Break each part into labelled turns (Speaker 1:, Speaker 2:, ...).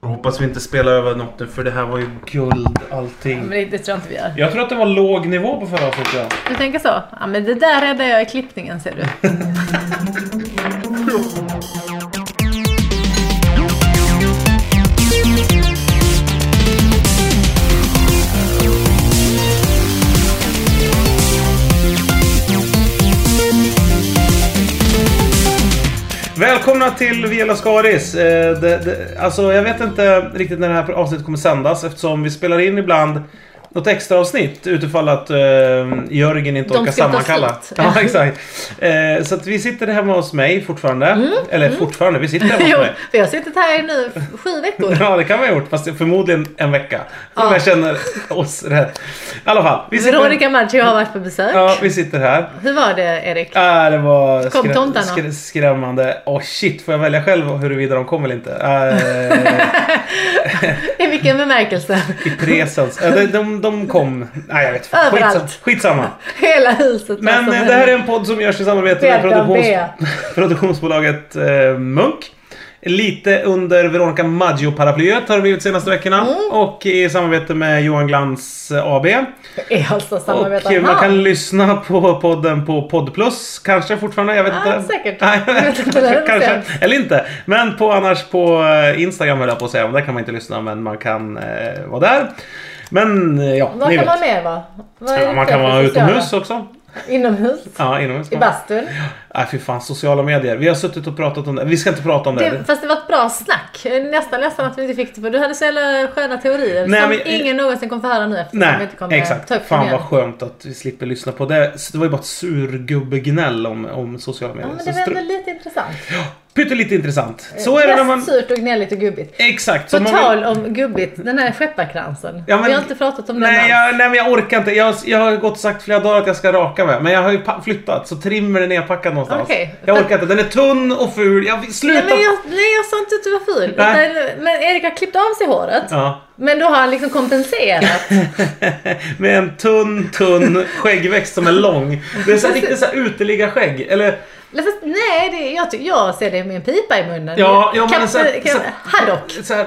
Speaker 1: Jag hoppas vi inte spelar över något nu för det här var ju guld
Speaker 2: Men
Speaker 1: allting.
Speaker 2: det, det tror jag inte vi gör.
Speaker 1: Jag tror att det var låg nivå på förra avsnittet. ja.
Speaker 2: Du tänker så? Ja, men det där räddar jag i klippningen ser du.
Speaker 1: Välkomna till Viola Skaris. Eh, det, det, alltså jag vet inte riktigt när det här avsnittet kommer sändas eftersom vi spelar in ibland något extra avsnitt utifall att eh, Jörgen inte
Speaker 2: De
Speaker 1: orkar
Speaker 2: ska ta
Speaker 1: sammankalla.
Speaker 2: slut.
Speaker 1: Ja, exakt. Eh, så att vi sitter hemma hos mig fortfarande. Eller fortfarande, vi sitter hemma hos
Speaker 2: Mm, Jo,
Speaker 1: mig.
Speaker 2: för jag har suttit här nu sju veckor.
Speaker 1: Ja, det kan vi ha gjort. Fast förmodligen en vecka. Om
Speaker 2: Ja.
Speaker 1: jag känner oss rätt. I alla fall. Vi sitter,
Speaker 2: Veronica Maggio har varit på besök.
Speaker 1: ja, vi sitter här.
Speaker 2: Hur var det Erik?
Speaker 1: Äh, det var
Speaker 2: Kom
Speaker 1: skrä-
Speaker 2: tomtarna?
Speaker 1: skrä- skrämmande. Åh shit, får jag välja själv huruvida de kom eller inte? Äh,
Speaker 2: I vilken bemärkelse?
Speaker 1: I presens. Äh, de, de, de kom. Nej, jag vet inte.
Speaker 2: Överallt. Alltså,
Speaker 1: Skitsam, skitsamma.
Speaker 2: Hela huset var
Speaker 1: Men
Speaker 2: som
Speaker 1: eh,
Speaker 2: en-
Speaker 1: det här är en podd som görs i samarbete med
Speaker 2: Välkommen.
Speaker 1: produktions- produktionsbolaget eh, Munk. Lite under Veronica Maggio-paraplyet har det blivit senaste veckorna. Och i samarbete med Johan Glans eh, AB.
Speaker 2: är alltså
Speaker 1: Och
Speaker 2: samarbetar
Speaker 1: eh, man kan lyssna på podden på Podplus kanske fortfarande. Jag vet
Speaker 2: Ah,
Speaker 1: inte.
Speaker 2: säkert.
Speaker 1: Nej,
Speaker 2: Jag vet inte, det är
Speaker 1: kanske.
Speaker 2: sent.
Speaker 1: Eller inte. Men på, annars på eh, Instagram höll jag på att säga. Men Där kan man inte lyssna men man kan eh, vara där. Men eh, ja,
Speaker 2: Vad
Speaker 1: ni
Speaker 2: kan
Speaker 1: vet.
Speaker 2: man mer va? Vad är
Speaker 1: Ja,
Speaker 2: det
Speaker 1: man
Speaker 2: för
Speaker 1: kan vara
Speaker 2: sociala?
Speaker 1: utomhus också.
Speaker 2: Inomhus?
Speaker 1: Ja, inomhus.
Speaker 2: I
Speaker 1: kan man.
Speaker 2: bastun?
Speaker 1: Nej fy fan, sociala medier. Vi har suttit och pratat om det. Vi ska inte prata om det.
Speaker 2: Det, fast det var ett bra snack. Nästan nästan att vi inte fick det för du hade så jävla sköna teorier
Speaker 1: Nej,
Speaker 2: som
Speaker 1: men-
Speaker 2: ingen någonsin kommer få höra nu eftersom vi
Speaker 1: Nej,
Speaker 2: inte kommer
Speaker 1: exakt.
Speaker 2: ta upp
Speaker 1: Fan
Speaker 2: dem
Speaker 1: vad
Speaker 2: igen.
Speaker 1: skönt att vi slipper lyssna på det. Det var ju bara ett surgubbegnäll om, om sociala
Speaker 2: Ja,
Speaker 1: medier.
Speaker 2: men
Speaker 1: Så
Speaker 2: det var
Speaker 1: stru-
Speaker 2: ändå lite intressant.
Speaker 1: Pyttelite intressant. Så är det när man...
Speaker 2: Mest surt och gnälligt och gubbigt.
Speaker 1: Exakt.
Speaker 2: På
Speaker 1: så man vill-
Speaker 2: tal om gubbigt, den här skepparkransen.
Speaker 1: Ja, men-
Speaker 2: Vi har inte pratat om
Speaker 1: Nej,
Speaker 2: den alls.
Speaker 1: jag, nej men jag orkar inte. Jag, jag har gått och sagt flera dagar att jag ska raka mig. Men jag har ju pa- flyttat så trimmer är nedpackad någonstans.
Speaker 2: Okej.
Speaker 1: Jag orkar inte. Den är tunn och ful. Jag, sluta!
Speaker 2: Nej, men jag, nej, jag sa inte att du var ful.
Speaker 1: Nej.
Speaker 2: Utan, men Erik har klippt av sig håret.
Speaker 1: Ja.
Speaker 2: Men då har han liksom kompenserat.
Speaker 1: Med en tunn, tunn skäggväxt som är lång. Det är så här, riktigt så här uteliggarskägg. Eller
Speaker 2: Eller fast, nej, det, jag, ty- jag ser det med en pipa i munnen.
Speaker 1: Ja, ja, men
Speaker 2: Kaffe-
Speaker 1: så att-
Speaker 2: kaffe-
Speaker 1: så att-
Speaker 2: Haddock.
Speaker 1: så här,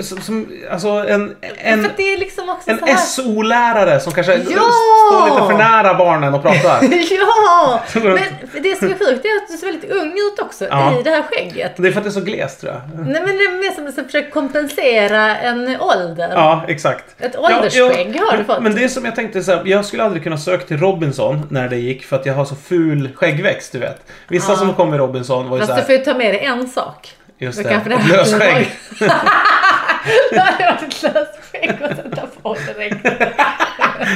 Speaker 1: som, som, alltså en,
Speaker 2: För
Speaker 1: en,
Speaker 2: att det är liksom också så
Speaker 1: en
Speaker 2: här.
Speaker 1: SO-lärare som kanske
Speaker 2: Ja!
Speaker 1: står lite för nära barnen och pratar.
Speaker 2: Ja! Men för det som är sjukt är att du ser väldigt ung ut också
Speaker 1: Ja.
Speaker 2: i det här skägget.
Speaker 1: Det är för att det är så glest tror jag.
Speaker 2: Nej men det är mer som att försöka kompensera en ålder.
Speaker 1: Ja, exakt.
Speaker 2: Ett åldersskägg har du fått.
Speaker 1: Men det är som jag tänkte så här, jag skulle aldrig kunna söka till Robinson när det gick för att jag har så ful skäggväxt, du vet. Vissa som kom i Robinson var ju så
Speaker 2: Fast du
Speaker 1: här,
Speaker 2: får ju ta med dig en sak.
Speaker 1: just
Speaker 2: då
Speaker 1: det,
Speaker 2: kanske det
Speaker 1: ett
Speaker 2: här skulle
Speaker 1: lösskägg.
Speaker 2: Det hade varit ett löst skägg att sätta på direkt.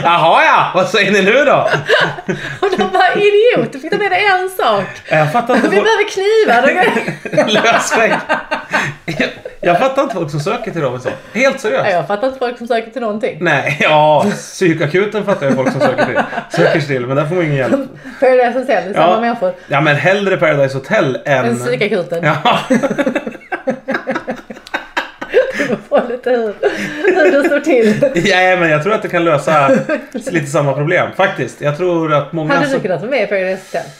Speaker 1: Jaha ja, vad säger ni nu då?
Speaker 2: Och de bara idiot, du fick ta med dig en sak.
Speaker 1: Jag fattar inte.
Speaker 2: Vi
Speaker 1: folk-
Speaker 2: behöver knivar. De-
Speaker 1: Lösskägg. Jag, jag fattar inte folk som söker till Robinson. Helt seriöst.
Speaker 2: Nej, Jag fattar inte folk som söker till någonting.
Speaker 1: Nej, ja, psykakuten fattar jag folk som söker till. Söker till, men där får man ingen hjälp.
Speaker 2: Paradise Hotel, det är samma
Speaker 1: Ja.
Speaker 2: människor.
Speaker 1: Ja, men hellre Paradise Hotel än...
Speaker 2: En psykakuten.
Speaker 1: Ja,
Speaker 2: Du får lite hur, hur det står till.
Speaker 1: nej, men jag tror att det kan lösa lite samma problem faktiskt. Jag tror att många...
Speaker 2: Hade du
Speaker 1: som-
Speaker 2: kunnat vara med i Paradise Hotel?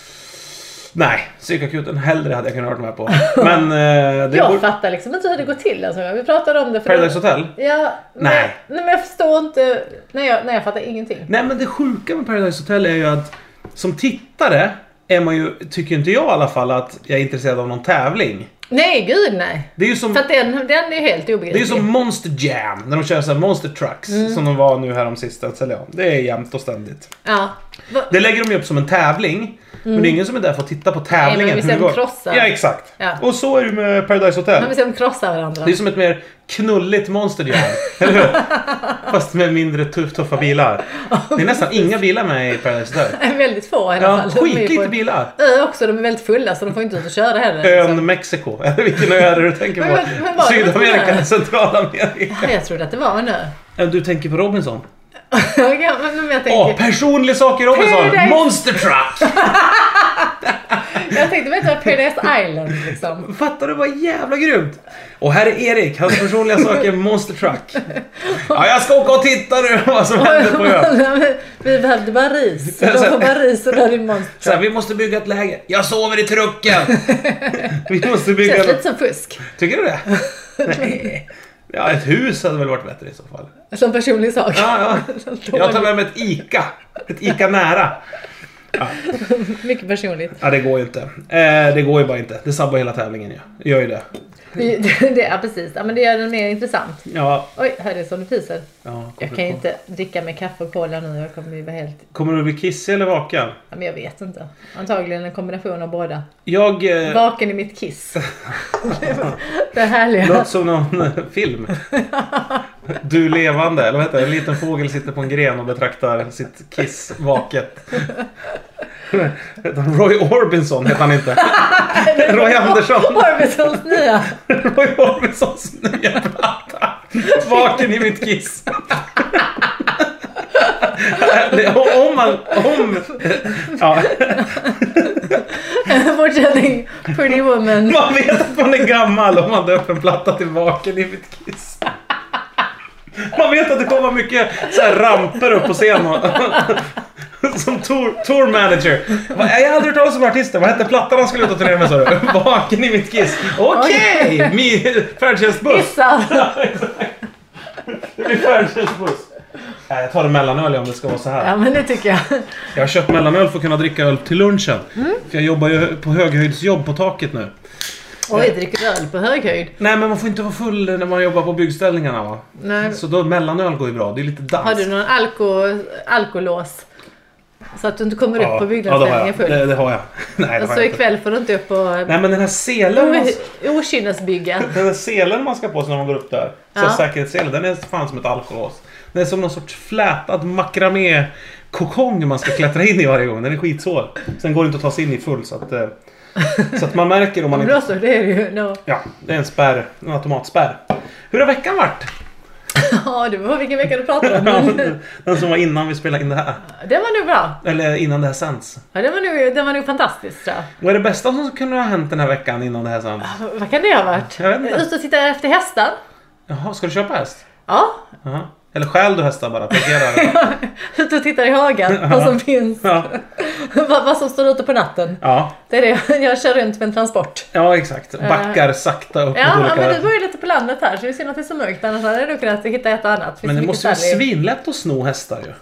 Speaker 1: Nej, psykakuten hellre hade jag kunnat vara med på. Men eh, det
Speaker 2: Jag
Speaker 1: borde-
Speaker 2: fattar liksom inte hur det går till. Alltså. Vi pratade om det för
Speaker 1: Paradise Hotel?
Speaker 2: Ja, men,
Speaker 1: Nej.
Speaker 2: nej. men jag förstår inte. Nej jag, nej, jag fattar ingenting.
Speaker 1: Nej, men det sjuka med Paradise Hotel är ju att som tittare är man ju, tycker inte jag i alla fall, att jag är intresserad av någon tävling.
Speaker 2: Nej, gud nej.
Speaker 1: Det är ju som...
Speaker 2: För att den, den är ju helt
Speaker 1: Det är
Speaker 2: obegriplig.
Speaker 1: ju som Monster Jam, när de kör så här Monster Trucks
Speaker 2: Mm.
Speaker 1: som de var nu härom sistens. Eller ja, det är jämnt och ständigt.
Speaker 2: Ja. Va-
Speaker 1: Det lägger de ju upp som en tävling. Men det är ingen som är där för att titta på tävlingen.
Speaker 2: Mm. Nej, men vi
Speaker 1: hur det
Speaker 2: ser dem
Speaker 1: går.
Speaker 2: krossa.
Speaker 1: Ja, exakt.
Speaker 2: Ja.
Speaker 1: Och så är det ju med Paradise Hotel.
Speaker 2: Men vi ser dem krossa varandra.
Speaker 1: Det är som ett mer knulligt Monster Jam. eller hur? Fast med mindre tuff, tuffa bilar. Det är nästan inga bilar med i Paradise Hotel.
Speaker 2: Väldigt få i alla
Speaker 1: Ja,
Speaker 2: fall. De är ju på
Speaker 1: skitlite
Speaker 2: en
Speaker 1: bilar.
Speaker 2: Ö också, de är väldigt fulla så de får inte ut och köra heller.
Speaker 1: Ön Mexiko. Eller vilken ö är det du tänker
Speaker 2: Men-
Speaker 1: på?
Speaker 2: men- men var det inte
Speaker 1: Sydamerika,
Speaker 2: där?
Speaker 1: Centralamerika.
Speaker 2: Ja, jag trodde att det var en ö.
Speaker 1: Du tänker på Robinson?
Speaker 2: ja, men men jag,
Speaker 1: Åh,
Speaker 2: tänker,
Speaker 1: personlig sak i Robinson!
Speaker 2: Paradise.
Speaker 1: Monster Truck!
Speaker 2: jag tänkte vet du vad Paradise Island liksom.
Speaker 1: Fattar du vad jävla grymt? Och här är Erik, hans personliga sak är Monster Truck. Ja, jag ska åka och titta nu vad som händer på ön.
Speaker 2: Vi behövde bara ris. Du har bara ris och då är det monster.
Speaker 1: Så här, vi måste bygga ett läger. Jag sover i trucken! vi måste
Speaker 2: Det
Speaker 1: bygga
Speaker 2: känns lite
Speaker 1: ett...
Speaker 2: som fusk.
Speaker 1: Tycker du det? Nej. Ja, ett hus hade väl varit bättre i så fall.
Speaker 2: Som personlig sak.
Speaker 1: Ja, ja. Jag tar med mig ett ICA. Ett ICA nära.
Speaker 2: Mycket personligt.
Speaker 1: Ja, det går ju inte. Eh, det går ju bara inte. Det sabbar hela tävlingen ju. Det Gör ju det.
Speaker 2: Det, det, det, ja, precis. Ja, men det gör den mer intressant.
Speaker 1: Ja.
Speaker 2: Oj, hörde som det pyser.
Speaker 1: ja
Speaker 2: Jag kan ju inte dricka med kaffe och cola nu. Jag kommer ju vara helt...
Speaker 1: Kommer du bli kissig eller vaken?
Speaker 2: Ja, men jag vet inte. Antagligen en kombination av båda.
Speaker 1: Jag... Eh,
Speaker 2: Vaken i mitt kiss. det härliga.
Speaker 1: låter som någon eh, film. Du levande, eller vad heter det? En liten fågel sitter på en gren och betraktar sitt kiss vaket. Heter han Roy Orbison heter han inte. Roy Andersson.
Speaker 2: Orbisons nya.
Speaker 1: Roy Orbisons nya platta. Vaken i mitt kiss. Det- Om man... Om... Ja,
Speaker 2: Fortsättning. Pretty woman.
Speaker 1: man vet att man är gammal om man döper en platta till Vaken i mitt kiss. Man vet att det kommer mycket så här ramper upp på scen. Och, som tour, tour manager. Va, Jag har aldrig hört talas om artisten. Vad hette plattan han skulle ut och turnera med sa du? Vaken i mitt kiss. Okej! Okay. Färdtjänstbuss.
Speaker 2: Kissar.
Speaker 1: Det blir färdtjänstbuss. Nej, jag tar en mellanöl om det ska vara så här.
Speaker 2: Ja men det tycker jag.
Speaker 1: Jag har köpt mellanöl för att kunna dricka öl till lunchen. För jag jobbar ju på höghöjdsjobb på taket nu.
Speaker 2: Oj, dricker du öl på hög höjd?
Speaker 1: Nej, men man får inte vara full när man jobbar på byggställningarna va?
Speaker 2: Nej.
Speaker 1: Så då mellanöl går ju bra. Det är lite dans.
Speaker 2: Har du någon alko, alkolås? Så att du inte kommer upp på
Speaker 1: ja,
Speaker 2: byggnadsställningen
Speaker 1: det har
Speaker 2: full.
Speaker 1: jag. Det, det har jag. Nej, det
Speaker 2: och
Speaker 1: har
Speaker 2: så
Speaker 1: jag inte.
Speaker 2: ikväll får du inte upp på
Speaker 1: Nej, men den här selen man,
Speaker 2: okynnesbygga.
Speaker 1: den här selen man ska ha på sig när man går upp där. Så
Speaker 2: Ja.
Speaker 1: Säkerhetsselen, den är fan som ett alkolås. Den är som någon sorts flätad makramé kokong man ska klättra in i varje gång. Den är skitsvår. Sen går det inte att ta sig in i full så att... eh, Så att man märker om man inte...
Speaker 2: Bra så, det är det ju. No.
Speaker 1: Ja, det är en spärr. En automatspärr. Hur har veckan varit?
Speaker 2: Ja, det var vilken vecka du pratade om. Men
Speaker 1: Den som var innan vi spelade in det här.
Speaker 2: den var nog bra.
Speaker 1: Eller innan det här sänds.
Speaker 2: Ja, den, var nog, den var nog fantastisk tror jag.
Speaker 1: Vad är det bästa som kunde ha hänt den här veckan innan det här sänds?
Speaker 2: Vad kan det ha varit?
Speaker 1: Jag vet inte.
Speaker 2: Ut och titta efter hästar.
Speaker 1: Jaha, ska du köpa häst?
Speaker 2: Ja,
Speaker 1: Jaha. Eller stjäl du hästar bara? Parkerar dem?
Speaker 2: ut och tittar i hagen. Vad som finns.
Speaker 1: Ja.
Speaker 2: Vad, vad som står ute på natten.
Speaker 1: ja.
Speaker 2: Det är det. Jag kör runt med en transport.
Speaker 1: Ja, exakt. Backar sakta upp mot
Speaker 2: Ja, ja,
Speaker 1: olika...
Speaker 2: men du bor ju lite på landet här så det är synd att det är så mörkt. Annars hade jag nog kunnat hitta ett och annat. Finns
Speaker 1: Men det
Speaker 2: mycket
Speaker 1: måste vara
Speaker 2: detaljer.
Speaker 1: svinlätt att sno hästar ju.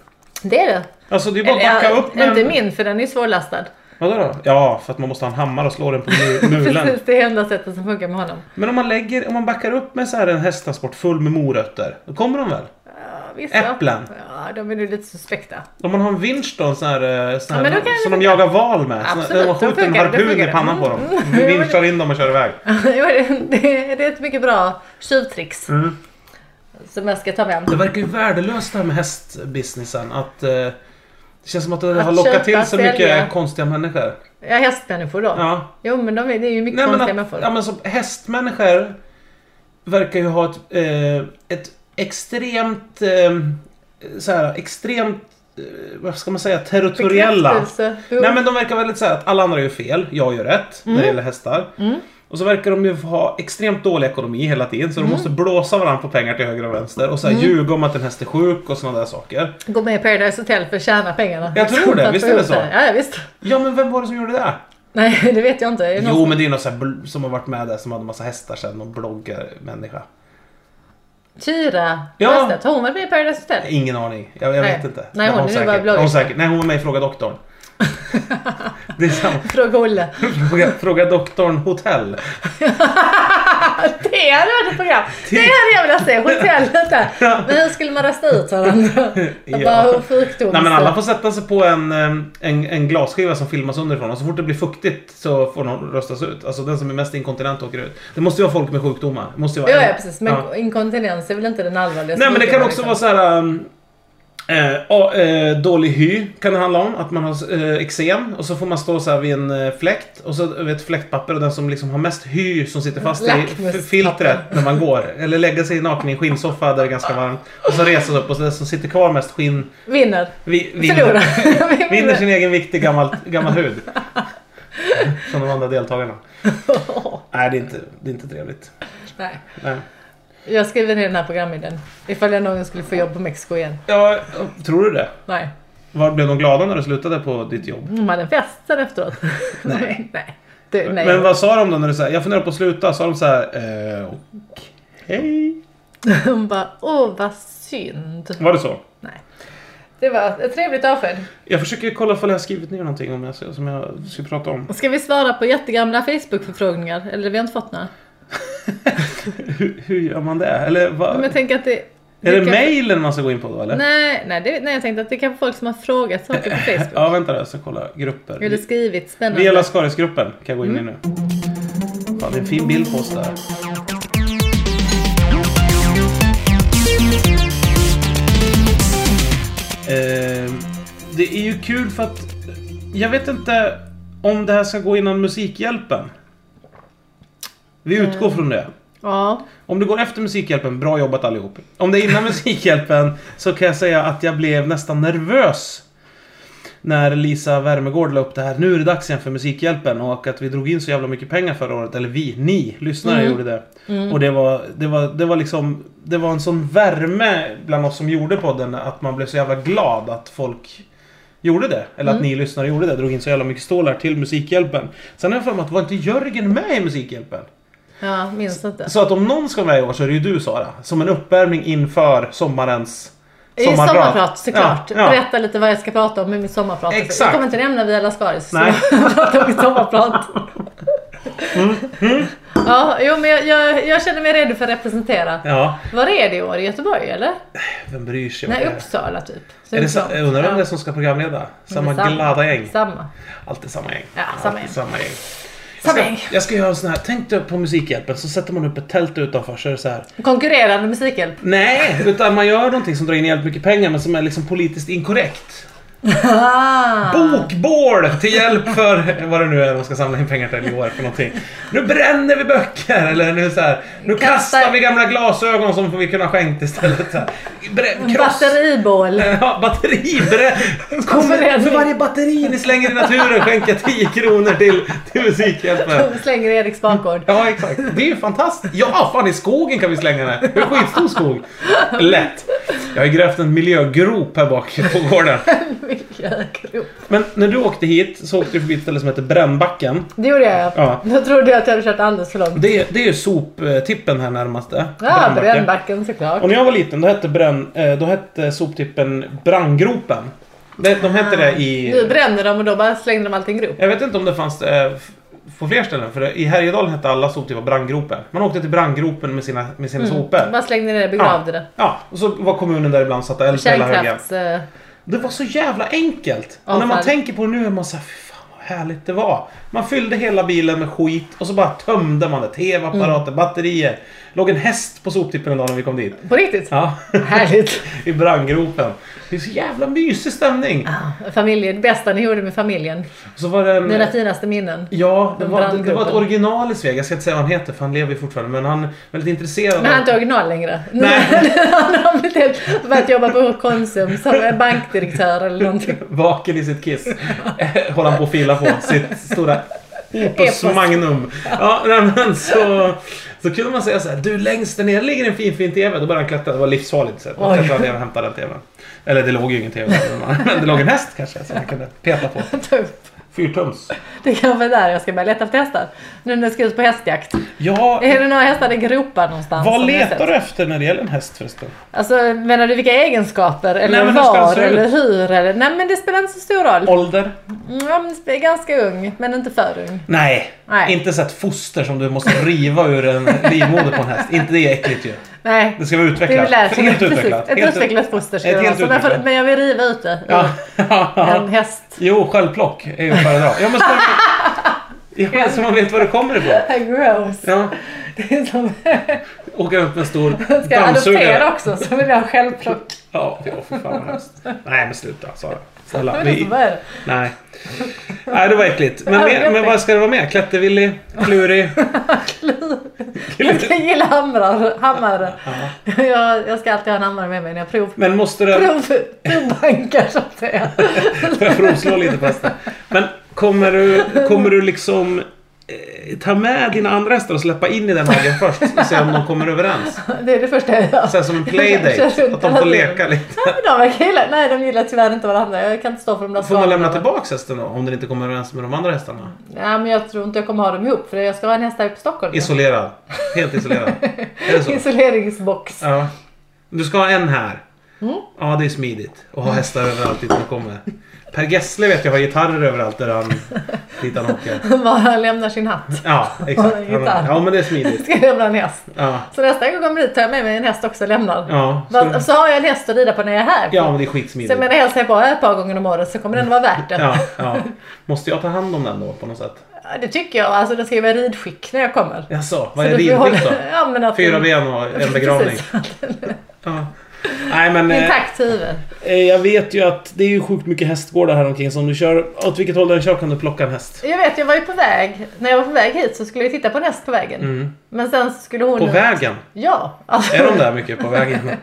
Speaker 2: Det är det.
Speaker 1: Alltså det är bara att
Speaker 2: Eller,
Speaker 1: backa
Speaker 2: ja,
Speaker 1: upp med...
Speaker 2: Inte min för den är ju svårlastad.
Speaker 1: Vadå då? Ja, för att man måste ha en hammare och slå den på mu- mulen.
Speaker 2: Precis, det är enda sättet som funkar med honom.
Speaker 1: Men om man, lägger, om man backar upp med så här en hästtransport full med morötter, då kommer de väl?
Speaker 2: Ja, visst,
Speaker 1: Äpplen.
Speaker 2: Ja, Ja, de är nu lite suspekta.
Speaker 1: Om man har en vinsch då, en sån här, eh, sån
Speaker 2: Ja,
Speaker 1: här
Speaker 2: men då kan
Speaker 1: som
Speaker 2: det-
Speaker 1: de jagar val med.
Speaker 2: Absolut,
Speaker 1: så när man
Speaker 2: då
Speaker 1: skjuter en
Speaker 2: funkar det, då
Speaker 1: harpun
Speaker 2: funkar
Speaker 1: i
Speaker 2: det.
Speaker 1: pannan på dem.
Speaker 2: Mm.
Speaker 1: Vi vinschar in dem och kör iväg.
Speaker 2: Jo, det, det, det är ett mycket bra tjuvtricks
Speaker 1: Mm.
Speaker 2: som jag ska ta med.
Speaker 1: Det verkar ju värdelöst det här med hästbusinessen. Att, eh, det känns som att det
Speaker 2: Att
Speaker 1: har lockat
Speaker 2: köpa,
Speaker 1: till så
Speaker 2: sälja.
Speaker 1: mycket konstiga människor.
Speaker 2: Ja, hästmänniskor då.
Speaker 1: Ja.
Speaker 2: Jo, men de är, det är ju mycket
Speaker 1: Nej, men
Speaker 2: konstiga
Speaker 1: att,
Speaker 2: människor.
Speaker 1: ja, men som hästmänniskor verkar ju ha ett, eh, ett extremt, eh, så här, extremt, eh, vad ska man säga, territoriella.
Speaker 2: Bekräftelse. Jo.
Speaker 1: Nej men de verkar väldigt säga att alla andra gör fel, jag gör rätt
Speaker 2: Mm.
Speaker 1: när det gäller hästar. Och så verkar de ju ha extremt dålig ekonomi hela tiden
Speaker 2: Mm.
Speaker 1: så de måste blåsa varandra på pengar till höger och vänster och så här, ljuga om att en häst är sjuk och sådana där saker.
Speaker 2: Gå med i Paradise Hotel för att tjäna pengarna.
Speaker 1: Jag tror det,
Speaker 2: För att
Speaker 1: visst
Speaker 2: få
Speaker 1: är det
Speaker 2: ihop
Speaker 1: så?
Speaker 2: Ja, ja, visst.
Speaker 1: Ja men vem var det som gjorde det?
Speaker 2: Nej, det vet jag inte. Är det någon
Speaker 1: Jo men det är någon så här, bl- som har varit med där som hade massa hästar sen och bloggarmänniska.
Speaker 2: Tyra
Speaker 1: Ja.
Speaker 2: Sjöstedt, har hon varit med i Paradise Hotel?
Speaker 1: Ingen aning. Jag, jag
Speaker 2: Nej.
Speaker 1: vet inte.
Speaker 2: Nej,
Speaker 1: Det
Speaker 2: hon
Speaker 1: har
Speaker 2: är ju bara
Speaker 1: säkert.
Speaker 2: bloggerska.
Speaker 1: hon säkert. Nej, hon var med i Fråga doktorn. Det är samma.
Speaker 2: Fråga Olle.
Speaker 1: Fråga, Fråga doktorn hotell.
Speaker 2: Det hade varit ett program! Det hade jag velat se! Hotellet där. Men hur skulle man rösta ut varandra?
Speaker 1: Ja.
Speaker 2: Bara sjukdom.
Speaker 1: Nej men alla får sätta sig på en, eh, en, en glasskiva som filmas underifrån och så fort det blir fuktigt så får någon röstas ut. Alltså den som är mest inkontinent åker ut. Det måste ju vara folk med sjukdomar. Det måste ju vara
Speaker 2: Ja,
Speaker 1: en-
Speaker 2: ja precis. Men
Speaker 1: Ja.
Speaker 2: inkontinens är liksom- väl inte den allvarligaste
Speaker 1: Nej men det kan
Speaker 2: sjukdomen,
Speaker 1: också
Speaker 2: liksom.
Speaker 1: vara så här. um, Eh, ja, eh, dålig hy kan det handla om. Att man har eh, eksem och så får man stå så här vid en eh, fläkt och så över ett fläktpapper och den som liksom har mest hy som sitter fast i
Speaker 2: Lackmuspapper.
Speaker 1: f- filtret när man går. Eller lägga sig naken i en skinnsoffa där det är ganska varmt. Och så resa sig upp och så den som sitter kvar mest skinn
Speaker 2: Vinner.
Speaker 1: vi, vinner,
Speaker 2: Förlorar.
Speaker 1: vinner sin egen vikt i gammal, gammal hud. Som de andra deltagarna. Nej, det är inte, det är inte trevligt.
Speaker 2: Nej.
Speaker 1: Nej.
Speaker 2: Jag skriver ner den här programidén. Ifall jag någon skulle få jobb på Mexiko igen.
Speaker 1: Ja, tror du det?
Speaker 2: Nej.
Speaker 1: Var, blev de glada när du slutade på ditt jobb?
Speaker 2: De hade en fest sen efteråt.
Speaker 1: Nej.
Speaker 2: nej. Du, nej.
Speaker 1: Men vad sa de då när du sa jag funderar på att sluta? Sa de så här, eh, okej?
Speaker 2: Hon bara, åh vad synd.
Speaker 1: Var det så?
Speaker 2: Nej. Det var ett trevligt avsked.
Speaker 1: Jag försöker kolla ifall jag har skrivit ner någonting om jag, ska- som jag ska prata om.
Speaker 2: Ska vi svara på jättegamla Facebook-förfrågningar? Eller vi har inte fått några.
Speaker 1: Hur, hur gör man det? Eller vad?
Speaker 2: Men jag tänker att det...
Speaker 1: är det
Speaker 2: kan-
Speaker 1: mailen man ska gå in på då eller?
Speaker 2: Nej, nej, det, nej, jag tänkte att det är kanske folk som har frågat saker på Facebook.
Speaker 1: Ja, vänta där, jag ska kolla grupper.
Speaker 2: Eller skrivit spännande.
Speaker 1: Vela Skaris-gruppen kan jag gå in i nu. Fan, det är en fin bild på oss där. Eh, det är ju kul för att jag vet inte om det här ska gå innan Musikhjälpen. Vi utgår från det.
Speaker 2: Ja.
Speaker 1: Om det går efter Musikhjälpen, bra jobbat allihop. Om det är innan Musikhjälpen så kan jag säga att jag blev nästan nervös. När Lisa Wärmegård la upp det här, nu är det dags igen för Musikhjälpen och att vi drog in så jävla mycket pengar förra året. Eller vi, ni lyssnare gjorde det. Och det var, det var, det var liksom, det var en sån värme bland oss som gjorde podden att man blev så jävla glad att folk gjorde det. Eller att ni lyssnare gjorde det, drog in så jävla mycket stålar till Musikhjälpen. Sen har jag för mig att var inte Jörgen med i Musikhjälpen?
Speaker 2: Ja, minns inte.
Speaker 1: Så att om någon ska vara med i år så är det ju du Sara. Som en uppvärmning inför sommarens
Speaker 2: I sommarprat såklart. Berätta lite vad jag ska prata om i mitt sommarprat.
Speaker 1: Exakt.
Speaker 2: Jag kommer inte nämna Via Lascaris.
Speaker 1: Nej.
Speaker 2: Prata om mitt sommarprat.
Speaker 1: Mm.
Speaker 2: Ja, jo men jag, jag, jag känner mig redo för att representera.
Speaker 1: Ja.
Speaker 2: Var är det i år? I Göteborg eller?
Speaker 1: Vem bryr sig? vad
Speaker 2: Nej,
Speaker 1: det är?
Speaker 2: Uppsala typ. Så
Speaker 1: Är det sa-
Speaker 2: långt.
Speaker 1: jag undrar vem
Speaker 2: Ja,
Speaker 1: det är som ska programleda? Samma
Speaker 2: men samma.
Speaker 1: glada gäng.
Speaker 2: Samma.
Speaker 1: Alltid samma gäng.
Speaker 2: Ja, samma
Speaker 1: Alltid
Speaker 2: gäng.
Speaker 1: samma gäng. Jag
Speaker 2: Samma
Speaker 1: ska,
Speaker 2: gäng.
Speaker 1: jag ska göra en sån här, tänk dig på Musikhjälpen så sätter man upp ett tält utanför så är det så här.
Speaker 2: Konkurrerande musikhjälp.
Speaker 1: Nej! Utan man gör någonting som drar in jävligt mycket pengar men som är liksom politiskt inkorrekt.
Speaker 2: Ah!
Speaker 1: Bokbål till hjälp för vad det nu är de ska samla in pengar till i år för någonting. Nu bränner vi böcker eller nu så här, Nu kastar,
Speaker 2: Kastar-
Speaker 1: vi gamla glasögon som vi kunde ha skänkt istället. Så här. Brä- kross...
Speaker 2: Batteribål.
Speaker 1: Ja, batteri. Brä... Kommer, för varje batteri ni slänger i naturen skänka 10 kronor till, till Musikhjälpen.
Speaker 2: Slänger i Eriks bakgård.
Speaker 1: Ja exakt, det är ju fantastiskt. Ja, fan i skogen kan vi slänga den. Det är skitstor skog. Lätt. Jag har ju grävt en miljögrop här bak på gården.
Speaker 2: Miljögrop.
Speaker 1: Men när du åkte hit så åkte du förbi ett ställe som heter Brännbacken.
Speaker 2: Det gjorde jag
Speaker 1: Ja.
Speaker 2: ja. Jag trodde jag att jag hade kört alldeles för långt.
Speaker 1: Det, det är ju soptippen här närmaste.
Speaker 2: Ja, Brännbacken såklart.
Speaker 1: Och när jag var liten då hette, bränn, eh, då hette soptippen Brandgropen. De, de hette det i...
Speaker 2: Ah, Nu brände de och då bara slängde de allting i en grop.
Speaker 1: Jag vet inte om det fanns eh, f- på fler ställen. För i Härjedalen hette alla soptippar Brandgropen. Man åkte till Brandgropen med sina, med sina
Speaker 2: Mm.
Speaker 1: sopor.
Speaker 2: Bara slängde ner det, begravde det.
Speaker 1: Ja, och så var kommunen där ibland och satte eld på hela högen.
Speaker 2: Kärnkrafts... eh,
Speaker 1: Det var så jävla enkelt.
Speaker 2: Ja,
Speaker 1: och när man
Speaker 2: fan.
Speaker 1: tänker på det nu är man såhär, fy fan vad härligt det var. Man fyllde hela bilen med skit och så bara tömde man det. TV-apparater,
Speaker 2: Mm.
Speaker 1: batterier. Låg en häst på soptippen en dag när vi kom dit.
Speaker 2: På riktigt?
Speaker 1: Ja,
Speaker 2: Härligt!
Speaker 1: i brandgropen. Det är så jävla mysig stämning.
Speaker 2: Ah, Familjen, det bästa ni gjorde med familjen.
Speaker 1: Och så var det en...
Speaker 2: Dina finaste minnen.
Speaker 1: Mm. Ja, det
Speaker 2: Den
Speaker 1: var, det, det var ett
Speaker 2: brandgropen.
Speaker 1: original i Sveg. Jag ska inte säga vad han heter för han lever ju fortfarande. Men han är väldigt intresserad
Speaker 2: Men han är
Speaker 1: av...
Speaker 2: inte original längre. Nu
Speaker 1: Nej.
Speaker 2: han har blivit helt... Börjat jobba på Konsum som bankdirektör eller någonting.
Speaker 1: Vaken i sitt kiss. Eh, Håller han på att fila på sitt stora Opus
Speaker 2: Epos.
Speaker 1: Magnum. Ja, nej, men så, så kunde man säga så här. Du längst där nere ligger en fin fin TV. Då började han klättra. Det var livsfarligt. Så han
Speaker 2: Oj.
Speaker 1: klättrade ner och hämtade den TVn. Eller det låg ju ingen TV där, Men det låg en häst kanske som man kunde peta på.
Speaker 2: Typ.
Speaker 1: Fyrtums.
Speaker 2: Det kanske är där jag ska börja leta efter hästar. Nu när jag ska ut på hästjakt.
Speaker 1: Ja,
Speaker 2: Är det några hästar i gropar någonstans?
Speaker 1: vad
Speaker 2: som jag
Speaker 1: letar
Speaker 2: sett?
Speaker 1: du efter när det gäller en häst förresten?
Speaker 2: Alltså menar du vilka egenskaper? Eller
Speaker 1: Nej, men hur ska den
Speaker 2: var?
Speaker 1: se ut?
Speaker 2: Eller hur? Eller... Nej men det spelar inte så stor roll.
Speaker 1: Ålder?
Speaker 2: Mm, ja, men det är ganska ung, men inte för ung.
Speaker 1: Nej.
Speaker 2: Nej.
Speaker 1: Inte så ett foster som du måste riva ur en livmoder på en häst. Inte det är äckligt ju.
Speaker 2: Nej.
Speaker 1: Det ska vara
Speaker 2: Det är
Speaker 1: utvecklat.
Speaker 2: väl där-
Speaker 1: Helt
Speaker 2: precis,
Speaker 1: utvecklat.
Speaker 2: Ett
Speaker 1: Helt ut-
Speaker 2: utvecklat foster ska
Speaker 1: Ett
Speaker 2: det vara.
Speaker 1: helt
Speaker 2: Så men,
Speaker 1: utvecklat.
Speaker 2: för, men jag vill riva ut det.
Speaker 1: Ja.
Speaker 2: ur En häst.
Speaker 1: Jo, sköldplock är ju att föredra. Ja, men så, ja, så man vet var det kommer ifrån.
Speaker 2: Gross.
Speaker 1: Ja.
Speaker 2: Det är som
Speaker 1: åka runt med en stor
Speaker 2: Ska jag
Speaker 1: dammsugare.
Speaker 2: adoptera också så vill jag självplock.
Speaker 1: Ja, ja, för fan vad hemskt. Nej men sluta Sara. Snälla.
Speaker 2: Jag vet
Speaker 1: Vi,
Speaker 2: inte vad är det.
Speaker 1: nej. Nej det var äckligt. Men,
Speaker 2: Ja, det
Speaker 1: mer,
Speaker 2: var
Speaker 1: men vad ska det vara med? Klättervillig? Klurig?
Speaker 2: Jag gillar hamrar, hammare. Jag, jag ska alltid ha en hammare med mig när jag prov,
Speaker 1: Men måste det...
Speaker 2: prov, provbankar så att säga.
Speaker 1: Får jag provslå lite på hästen? Men kommer du, kommer du liksom eh, ta med dina andra hästar och släppa in i den hagen först? Och se om de kommer överens?
Speaker 2: Det är det första jag gör.
Speaker 1: Så här som en playdate. Att de får leka lite.
Speaker 2: Nej, men de verkar gilla, nej de gillar tyvärr inte varandra. Jag kan inte stå för de där
Speaker 1: Får man
Speaker 2: svaren.
Speaker 1: lämna tillbaka hästen då? Om den inte kommer överens med de andra hästarna?
Speaker 2: Nej men jag tror inte jag kommer ha dem ihop för jag ska ha en häst här uppe i Stockholm.
Speaker 1: Isolerad. Helt isolerad. Är det så?
Speaker 2: Isoleringsbox.
Speaker 1: Ja. Du ska ha en här.
Speaker 2: Mm.
Speaker 1: Ja, det är smidigt. Och ha hästar överallt dit de kommer. Per Gessle vet jag har gitarrer överallt där han, dit han åker.
Speaker 2: Bara lämnar sin hatt.
Speaker 1: Ja, exakt.
Speaker 2: Och en gitarr.
Speaker 1: Ja, men det är smidigt.
Speaker 2: Ska jag lämna en häst.
Speaker 1: Ja.
Speaker 2: Så nästa gång jag kommer dit tar jag med mig en häst också och lämnar.
Speaker 1: Ja,
Speaker 2: Va- alltså-
Speaker 1: så,
Speaker 2: Så har jag en häst att rida på när jag är här.
Speaker 1: ja men det är
Speaker 2: Så jag
Speaker 1: skitsmidigt.
Speaker 2: menar hälsar jag på här ett par gånger om året så kommer den vara värt det.
Speaker 1: Ja, ja. Måste jag ta hand om den då på något sätt?
Speaker 2: Ja, Det tycker jag. Alltså då ska jag vara i ridskick när jag kommer.
Speaker 1: Jaså, vad
Speaker 2: Så
Speaker 1: är
Speaker 2: då får jag
Speaker 1: ridskick då?
Speaker 2: hålla- Ja, men att
Speaker 1: Fyra
Speaker 2: den-
Speaker 1: ben och en begravning.
Speaker 2: Precis, att den-
Speaker 1: Ja. Nej men... eh,
Speaker 2: Intakt huvud.
Speaker 1: eh, Jag vet ju att det är ju sjukt mycket hästgårdar här omkring. Så om du kör, åt vilket håll du än kör kan du plocka en häst.
Speaker 2: Jag vet, jag var ju på väg. När jag var på väg hit så skulle jag titta på en häst på vägen.
Speaker 1: Mm.
Speaker 2: Men sen så skulle hon...
Speaker 1: På vägen?
Speaker 2: Ja. Alltså,
Speaker 1: Är de där mycket på vägen?
Speaker 2: Nej,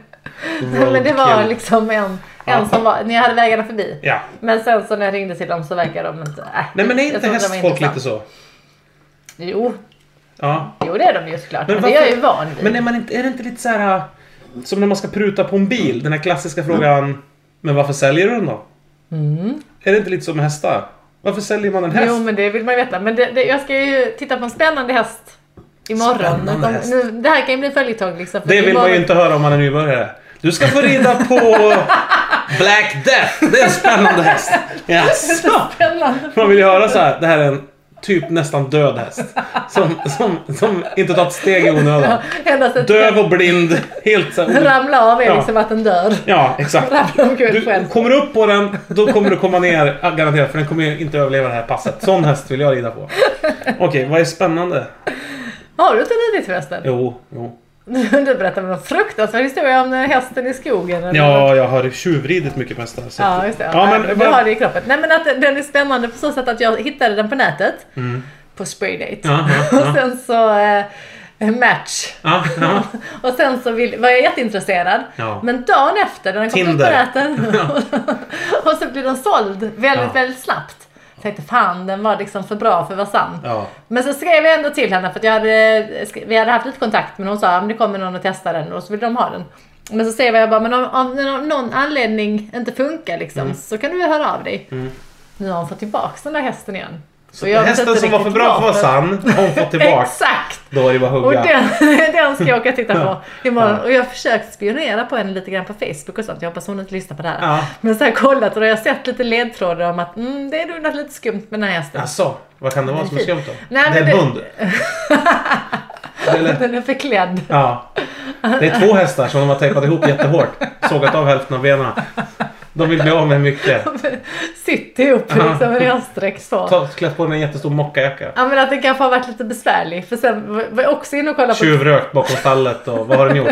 Speaker 2: men det var
Speaker 1: Roadkill.
Speaker 2: liksom en, en
Speaker 1: Ja.
Speaker 2: som var... När jag hade vägarna förbi.
Speaker 1: Ja.
Speaker 2: Men sen så när jag ringde till dem så verkade de inte... Äh,
Speaker 1: Nej men är
Speaker 2: jag
Speaker 1: inte
Speaker 2: tror de var
Speaker 1: hästfolk lite
Speaker 2: intressant.
Speaker 1: så?
Speaker 2: Jo,
Speaker 1: Ja.
Speaker 2: jo det är de ju såklart.
Speaker 1: Men
Speaker 2: Men, det är jag
Speaker 1: varför-
Speaker 2: ju van vid.
Speaker 1: Men är, man inte, är det inte lite så här äh, som när man ska pruta på en bil? Den här klassiska frågan. Men varför säljer du den då?
Speaker 2: Mm.
Speaker 1: Är det inte lite som med hästar? Varför säljer man en häst?
Speaker 2: Jo men det vill man ju veta. Men det, det, jag ska ju titta på en spännande häst imorgon.
Speaker 1: Spännande
Speaker 2: Utan
Speaker 1: häst.
Speaker 2: Nu, det här kan ju bli en följetong liksom. för
Speaker 1: det vill man
Speaker 2: imorgon-
Speaker 1: ju inte höra om man är nybörjare. Du ska få rida på Black Death. Det är en spännande häst. Jaså?
Speaker 2: Spännande.
Speaker 1: Man vill ju höra så här. Det här är en typ nästan död häst. Som, som, som inte tagit steg i onödan.
Speaker 2: Endast att
Speaker 1: Döv och blind. Helt så här,
Speaker 2: ramla av är
Speaker 1: Ja.
Speaker 2: liksom att den dör.
Speaker 1: Ja, exakt.
Speaker 2: Ramla omkull själv.
Speaker 1: Du kommer du upp på den, då kommer du komma ner ja, garanterat. För den kommer ju inte överleva det här passet. Sån häst vill jag rida på. Okej, vad är spännande?
Speaker 2: Har du inte ridit förresten?
Speaker 1: Jo, jo.
Speaker 2: Du berättade någon fruktansvärd historia om hästen i skogen. eller något.
Speaker 1: Ja, jag har tjuvridit mycket på hästar. så-
Speaker 2: Ja, just det.
Speaker 1: typ. Ja,
Speaker 2: Nej,
Speaker 1: men
Speaker 2: du
Speaker 1: vad-
Speaker 2: har det i kroppen. Nej men att den är spännande på så sätt att jag hittade den på nätet. På Spraydate.
Speaker 1: Mm. Ja, ja,
Speaker 2: Och sen så... Eh, match.
Speaker 1: ja, ja.
Speaker 2: Och sen så vill, var jag jätteintresserad.
Speaker 1: Ja.
Speaker 2: Men dagen efter när den kom upp på
Speaker 1: Tinder.
Speaker 2: näten och så blev den såld väldigt,
Speaker 1: Ja.
Speaker 2: väldigt snabbt. Jag tänkte fan den var liksom för bra för att vara sann.
Speaker 1: Ja.
Speaker 2: Men så skrev jag ändå till henne för att jag hade, eh, vi hade haft lite kontakt men hon sa att det kommer någon och testar den och så vill de ha den. Men så skrev jag bara men om, om det av någon anledning inte funkar liksom
Speaker 1: Mm.
Speaker 2: så kan du ju höra av dig. Nu har hon fått tillbaka den där hästen igen. Så
Speaker 1: Hästen som var för bra för att vara sann, har hon fått tillbaka.
Speaker 2: Exakt!
Speaker 1: Då är det bara att
Speaker 2: Och
Speaker 1: hugga.
Speaker 2: den, den ska jag åka och titta på
Speaker 1: Ja.
Speaker 2: imorgon.
Speaker 1: Ja.
Speaker 2: Och jag har försökt spionera på henne lite grann på Facebook och sånt. Jag hoppas hon inte lyssnar på det här.
Speaker 1: Ja.
Speaker 2: Men så har jag kollat och då har jag sett lite ledtrådar om att mm, det är nog något lite skumt med den här hästen.
Speaker 1: Jaså, Alltså, vad kan det vara som är skumt då?
Speaker 2: Nej,
Speaker 1: det är
Speaker 2: men
Speaker 1: en
Speaker 2: det-
Speaker 1: hund. Eller?
Speaker 2: Den är förklädd.
Speaker 1: Ja. Det är två hästar som de har tejpat ihop jättehårt. Sågat av hälften av benen. De vill bli av med mycket.
Speaker 2: Sitter ihop
Speaker 1: Ja.
Speaker 2: liksom med rösträck så.
Speaker 1: Ta- Klätt på den en jättestor mockajacka.
Speaker 2: Ja men att den kanske har varit lite besvärlig. För sen var var jag också inne och kollade på
Speaker 1: Tjuvrökt bakom stallet och vad har den gjort?